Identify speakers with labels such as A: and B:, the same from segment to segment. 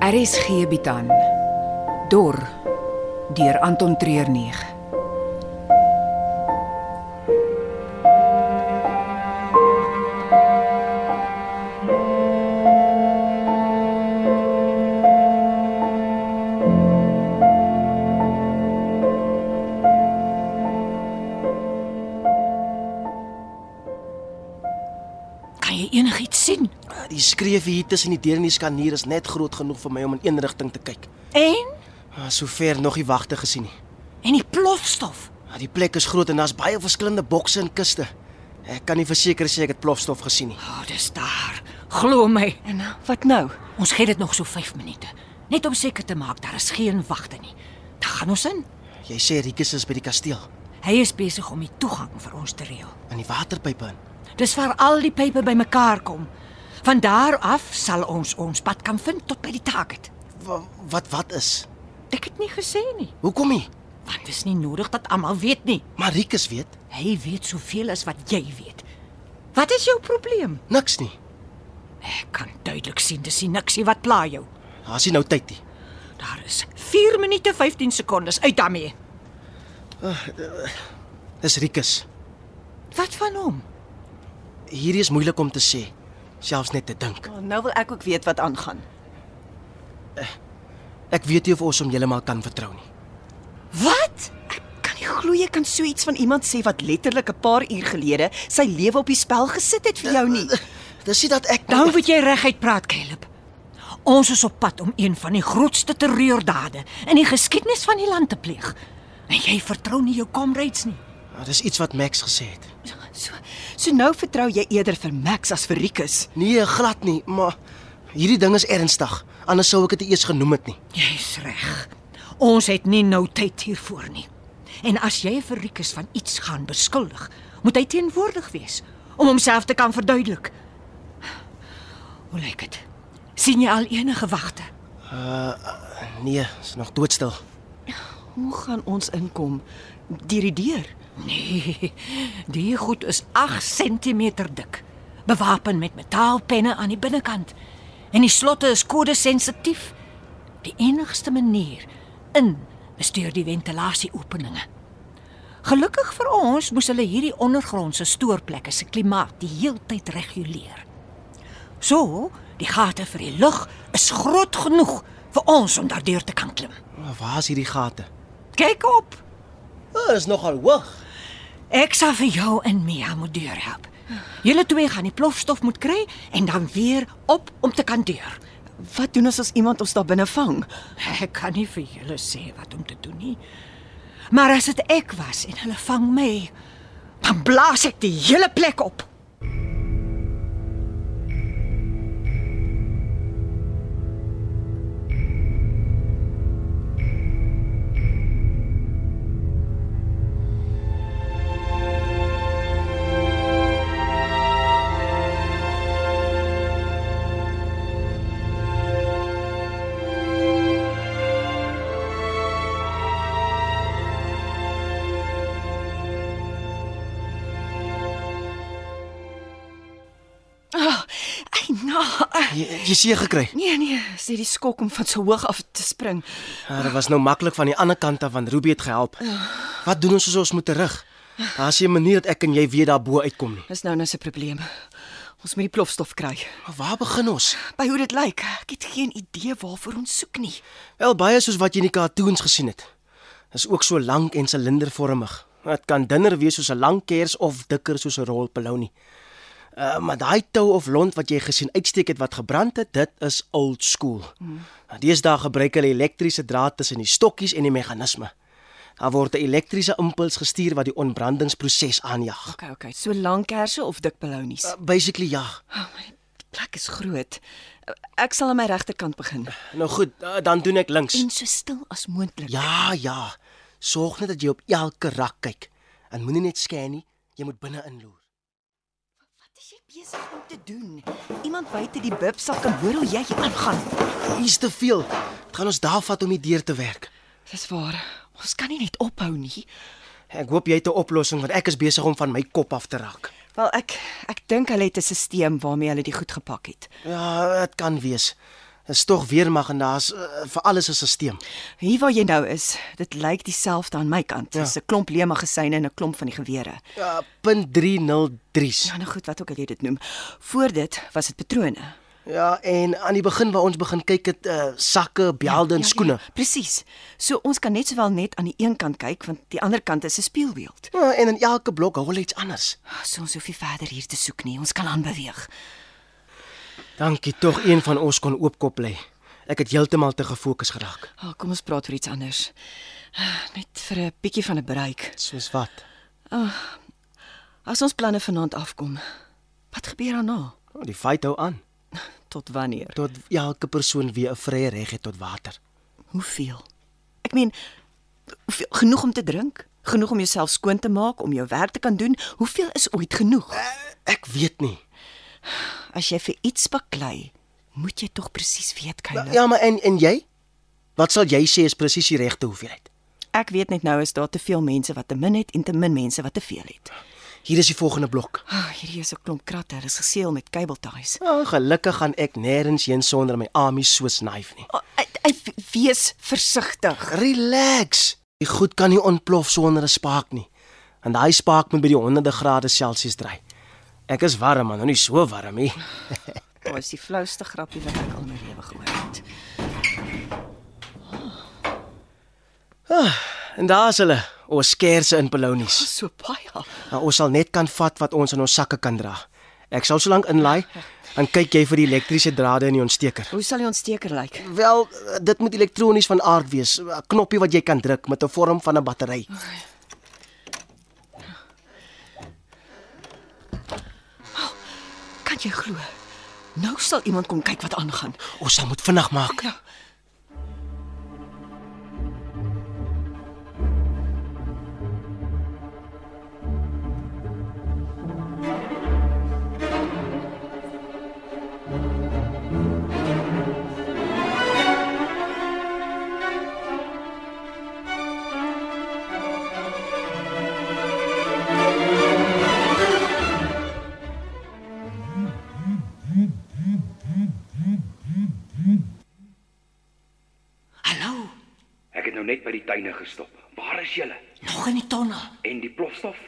A: RSG bied aan Dor deur Anton Treurnig.
B: Kan jy enigiets sien?
C: Die skreef hier tussen die deur en die skanier is net groot genoeg vir my om in een rigting te kyk.
B: En
C: Ah, Sover nog nie wagte gesien nie.
B: en die plofstof.
C: Ah, Die plek is groot en daar's baie verskillende bokse en kiste. Ek kan nie verseker sê ek het plofstof gesien nie.
B: Ah, oh, dis daar. Glo my.
D: En wat nou?
B: Ons gee dit nog so 5 minute. Net om seker te maak daar is geen wagte nie. Dan gaan ons in.
C: Jy sê Rikus is by die kasteel
B: Hy is besig om die toegang vir ons te reël.
C: in die waterpype in.
B: Dis waar al die pype bymekaar kom. Van daar af sal ons ons pad kan vind tot by die target.
C: Wa- Wat wat is?
B: Ek het nie gesê nie,
C: Hoekom nie?
B: want dit is nie nodig dat almal weet nie.
C: Maar Rikus weet
B: Hy weet soveel as wat jy weet. Wat is jou probleem?
C: niks nie.
B: Ek kan duidelik sien dis nie niksie wat pla jou.
C: Daar's nie nou tyd nie.
B: Daar is 4 minute 15 sekondes uit daarmee.
C: Dis Rikus.
B: Wat van hom?
C: Hierdie is moeilik om te sê, selfs net te dink.
D: Oh, nou wil ek ook weet wat aangaan.
C: Ek weet nie of ons hom heeltemal kan vertrou nie.
B: Wat?
D: Ek kan nie glo jy kan so iets van iemand sê wat letterlik 'n paar uur gelede sy lewe op die spel gesit het vir jou nie.
C: Dis nie dat ek
B: Nou moet jy reguit praat, Caleb. Ons is op pad om een van die grootste terreurdade in die geskiedenis van die land te pleeg. En jy vertrou nie jou comrades nie.
C: Ah, Dis iets wat Max gesê het.
D: So so nou vertrou jy eerder vir Max as vir Rikus.
C: Nee, glad nie, maar hierdie ding is ernstig. Anders sou ek dit nie eers genoem het nie.
B: Jy's reg. Ons het nie nou tyd hiervoor nie. En as jy vir Rikus van iets gaan beskuldig, moet hy teenwoordig wees om homself te kan verduidelik. Hoe lyk dit? sien jy al enige wagte?
C: Nee, is nog doodstil.
D: Hoe gaan ons inkom? Deur die deur.
B: Nee, die goed is 8 cm dik, bewapen met metaalpenne aan die binnekant. En die slotte is kode sensitief. Die enigste manier in is deur die ventilasieopeninge. Gelukkig vir ons moes hulle hierdie ondergrondse stoorplekke se klimaat die heeltyd reguleer. So, die gate vir die lug is groot genoeg vir ons om daardeur te kan klim.
C: Maar waar is hierdie gate?
B: Kyk op.
C: Dit is nogal hoog.
B: Ek sal vir jou en Mia moet deurhelp. Julle twee gaan die plofstof moet kry en dan weer op om te kan deur.
D: Wat doen ons as iemand ons daar binne vang?
B: Ek kan nie vir julle sê wat om te doen nie. Maar as dit ek was en hulle vang my, dan blaas ek die hele plek op.
D: Ah, ai na. ah,
C: Jy, jy seer gekry.
D: Nee nee, sê die skok om van so hoog af te spring.
C: Ja, dit was nou maklik van die ander kant af want Ruby het gehelp. Wat doen ons as ons moet terug? Daar's 'n manier dat ek en jy weer daarbo uitkom nie.
D: Dis nou nou 'n probleem. Ons moet die plofstof kry.
C: Maar waar begin ons?
D: By hoe dit lyk, ek het geen idee waarvoor ons soek nie.
C: Wel baie soos wat jy in die cartoons gesien het. Is ook so lank en silindervormig. Dit kan dunner wees soos 'n lang kers of dikker soos 'n rol polony. Uh, maar daai tou of lont wat jy gesien uitsteek het wat gebrand het, dit is old school. Hmm. Deesdae gebruik hulle elektriese draad tussen die stokkies en die meganisme. Daar word 'n elektriese impuls gestuur wat die ontbrandingsproses aanjaag.
D: Okay, okay. So lang kersse of dik ballonies.
C: Uh, basically ja.
D: Oh, my die plek is groot. Ek sal aan my regterkant begin.
C: Nou goed, uh, dan doen ek links.
D: En so stil as moontlik.
C: Ja, ja. Sorg net dat jy op elke rak kyk en moenie net scan nie, jy moet binne inloer.
D: Wat is jy besig om te doen? Iemand buite die bib sal kan hoor hoe jy hier aangaan.
C: Hier's te veel. Dit gaan ons daar vat om die deur te werk.
D: Dis waar. Ons kan nie net ophou nie.
C: Ek hoop jy het 'n oplossing want ek is besig om van my kop af te raak.
D: Wel ek ek dink hulle het 'n stelsel waarmee hulle die goed gepak het.
C: Ja, dit kan wees. Is tog weer magnaas uh, vir alles 'n stelsel.
B: Hier waar jy nou is, dit lyk dieselfde aan my kant.
C: Ja.
B: Dis 'n klomp leë magasyne en 'n klomp van die gewere.
C: Uh, punt 303s.
B: Ja, nou goed, wat ook al jy dit noem. Voor dit was dit patrone.
C: Ja, en aan die begin waar ons begin kyk het uh, sakke, belde en skoene.
B: Ja, presies. So ons kan net sowel net aan die een kant kyk want die ander kant is 'n speelbeeld.
C: Ja, en in elke blok hou hulle iets anders.
B: So ons hoef nie verder hier te soek nie. Ons kan aanbeweeg.
C: Dankie tog een van ons kon oopkop lê. Ek het heeltemal te gefokus geraak.
B: Oh, kom ons praat oor iets anders. Ah, Net vir 'n bietjie van 'n breek.
C: Soos wat?
B: As ons planne vanaand afkom, wat gebeur daarna?
C: Oh, die fight hou aan
B: Tot wanneer?
C: tot elke persoon weer 'n vrye reg het tot water.
B: Hoeveel? Ek meen hoeveel, genoeg om te drink, genoeg om jouself skoon te maak, om jou werk te kan doen. Hoeveel is ooit genoeg?
C: Eh, Ek weet nie.
B: As jy vir iets baklei, moet jy tog presies weet kyk.
C: Ja, maar en en jy? Wat sal jy sê is presies die regte hoeveelheid?
E: Nee.
B: Ek weet net nou is daar te veel mense wat te min het en te min mense wat te veel het.
C: Hier is die volgende blok.
B: Oh, hierdie is 'n klomp kratte, hulle is geseël met kabelties.
C: Ja, gelukkig gaan ek nêrens heen sonder my Ami Swiss knife nie.
B: Oh, ai- ai, wees versigtig.
C: Relax. Die goed kan nie ontplof sonder 'n spaak nie. En daai spaak moet by die honderde grade Celsius dry. Ek is warm, maar nou nie so warm nie.
B: Dit is die flouste grappie wat ek al in my lewe gehoor het.
C: En daar's hulle, ons skerse in polonies.
B: So baie.
C: Nou, ons sal net kan vat wat ons in ons sakke kan dra. Ek sal solank inlaai en kyk jy vir die elektriese drade in die ontsteker.
B: Hoe sal die ontsteker lyk?
C: Wel, dit moet elektronies van aard wees, 'n knoppie wat jy kan druk met 'n vorm van 'n battery.
B: Kan jy glo? Nou sal iemand kom kyk wat aangaan.
C: Ons sal moet vinnig maak.
B: Ja.
E: Hallo,
F: Ek het nou net by die tuine gestop. Waar is julle?
E: nog in die tonnel.
F: En die plofstof?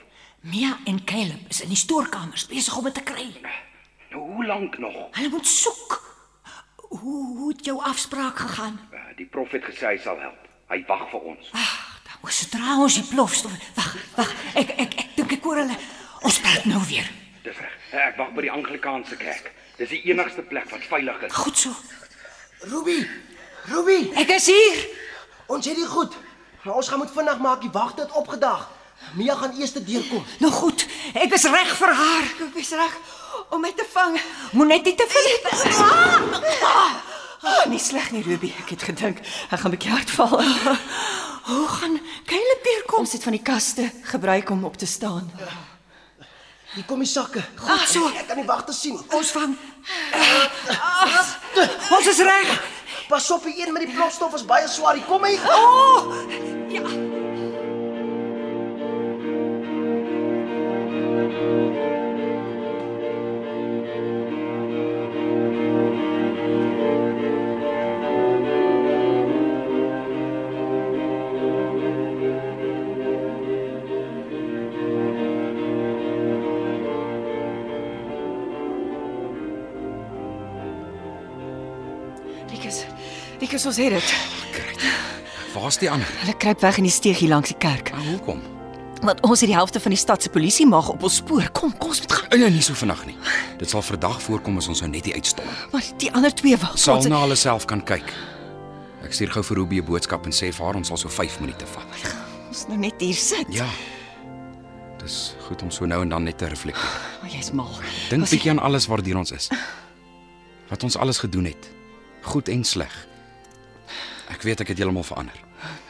E: Mia en Caleb is in die stoorkamers besig om dit te kry.
F: Nou hoe lank nog?
E: Hulle moet soek. Hoe hoe het jou afspraak gegaan?
F: Uh, die prof het gesê hy sal help. Hy wag vir ons.
E: Ag, dan moet sodra ons die plofstof. Wag, wag. Ek ek ek dink ek hoor hulle. Ons praat nou weer.
F: Dis reg. Ah, Ek wag by die Anglikaanse kerk. Dis die enigste plek wat veilig is.
E: Goed so.
C: Ruby, Ruby,
E: Ek is hier.
C: ons het dit goed. Maar ons gaan moet vinnig maak, die wagte het opgedag. Mia gaan eers te deurkom.
E: Nou goed. Ek is reg vir haar.
B: Ek is reg om my te vang.
E: Moet net nie te veel. Ah,
B: Oh, nie sleg nie, Ruby. Ek het gedink ek gaan bietjie hard val.
E: Hoe gaan Caleb weer kom?
B: Ons het van die kaste gebruik om op te staan.
C: Hier kom die sakke.
E: Goed so.
C: Ek kan nie wag te sien.
E: Ons vang. Ag, Ons is reg.
C: Pas op, die een met die plofstof is baie swaar. Hier kom hy.
E: Oh! Ja.
B: Rikus, Rikus ons het dit.
G: Waar's die ander?
B: Hulle kruip weg in die steeg hier langs die kerk.
G: Nou hoekom?
B: Want ons het die helfte van die stad se polisie mag op ons spoor. Kom, kom ons moet gaan.
G: Nee, nie so vinnig nie. Dit sal verdag voorkom as ons nou net hier uitstom.
B: Maar die ander twee wag.
G: Sal
B: Ons-
G: na hulle self kan kyk. Ek stuur gou vir Ruby 'n boodskap en sê vir haar ons sal so 5 minute vat.
B: Ons nou net hier sit.
G: Ja. Dis goed om so nou en dan net te reflekteer.
B: Oh, Jy's mal.
G: Dink
B: Was jy-
G: bietjie aan alles waardeur ons is. Wat ons alles gedoen het. Goed en sleg. Ek weet ek het heeltemal verander.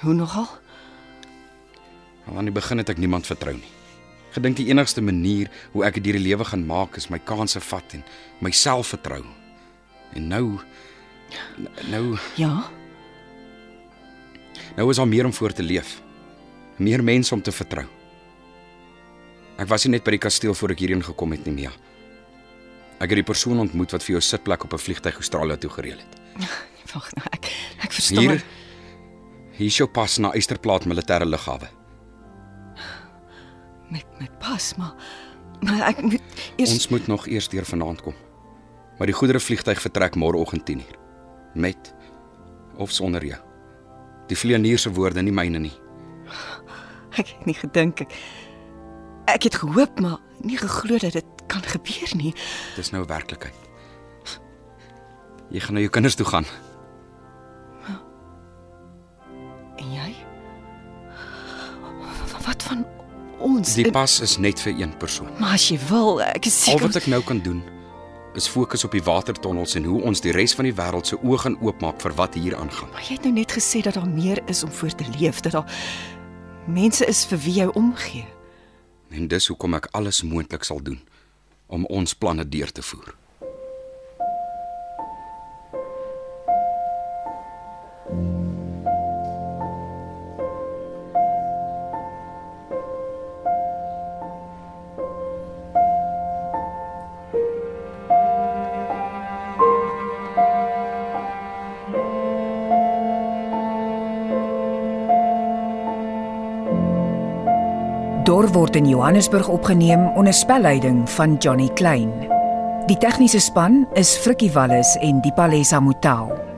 B: Hoe nogal?
G: Want aan die begin het ek niemand vertrou nie. Gedink die enigste manier hoe ek dit hierdie lewe gaan maak is my kansse vat en myself vertrou. En nou n- nou
B: Ja.
G: Nou is daar meer om voor te leef. Meer mense om te vertrou. Ek was nie net by die kasteel voor ek hierheen gekom het nie, Mia. Ek het die persoon ontmoet wat vir jou sitplek op 'n vliegtyg Australië toe gereël het.
B: Wag, nou, ek ek verstaan.
G: Hier. Hier is jou pas na Eysterplaat militêre lughawe.
B: met met pas, maar maar ek moet eers
G: Ons moet nog eers deur vanaand kom. Maar die goedere vliegtyg vertrek môreoggend 10uur. Met of sonder jou. Die vleienier se woorde nie myne nie.
B: ek het nie gedink ek ek het gehoop maar nie geglo dat dit kan gebeur nie.
G: Dis nou 'n werklikheid. Jy gaan na jou kinders toe gaan.
B: En jy? Wa- Wat van ons?
G: Die pas is net vir een persoon.
B: maar as jy wil, ek is
G: Al
B: seker
G: wat ek nou kan doen is fokus op die watertonnels en hoe ons die res van die wêreld se oë gaan oopmaak vir wat hier aangaan.
B: Maar jy het nou net gesê dat daar meer is om voor te leef, dat daar mense is vir wie jy omgee.
G: En dis hoekom ek alles moontlik sal doen om ons planne deur te voer.
D: Dor word in Johannesburg opgeneem onder spelleiding van Johnny Klein. Die tegniese span is Frikkie Wallis en Dipalesa Motelo.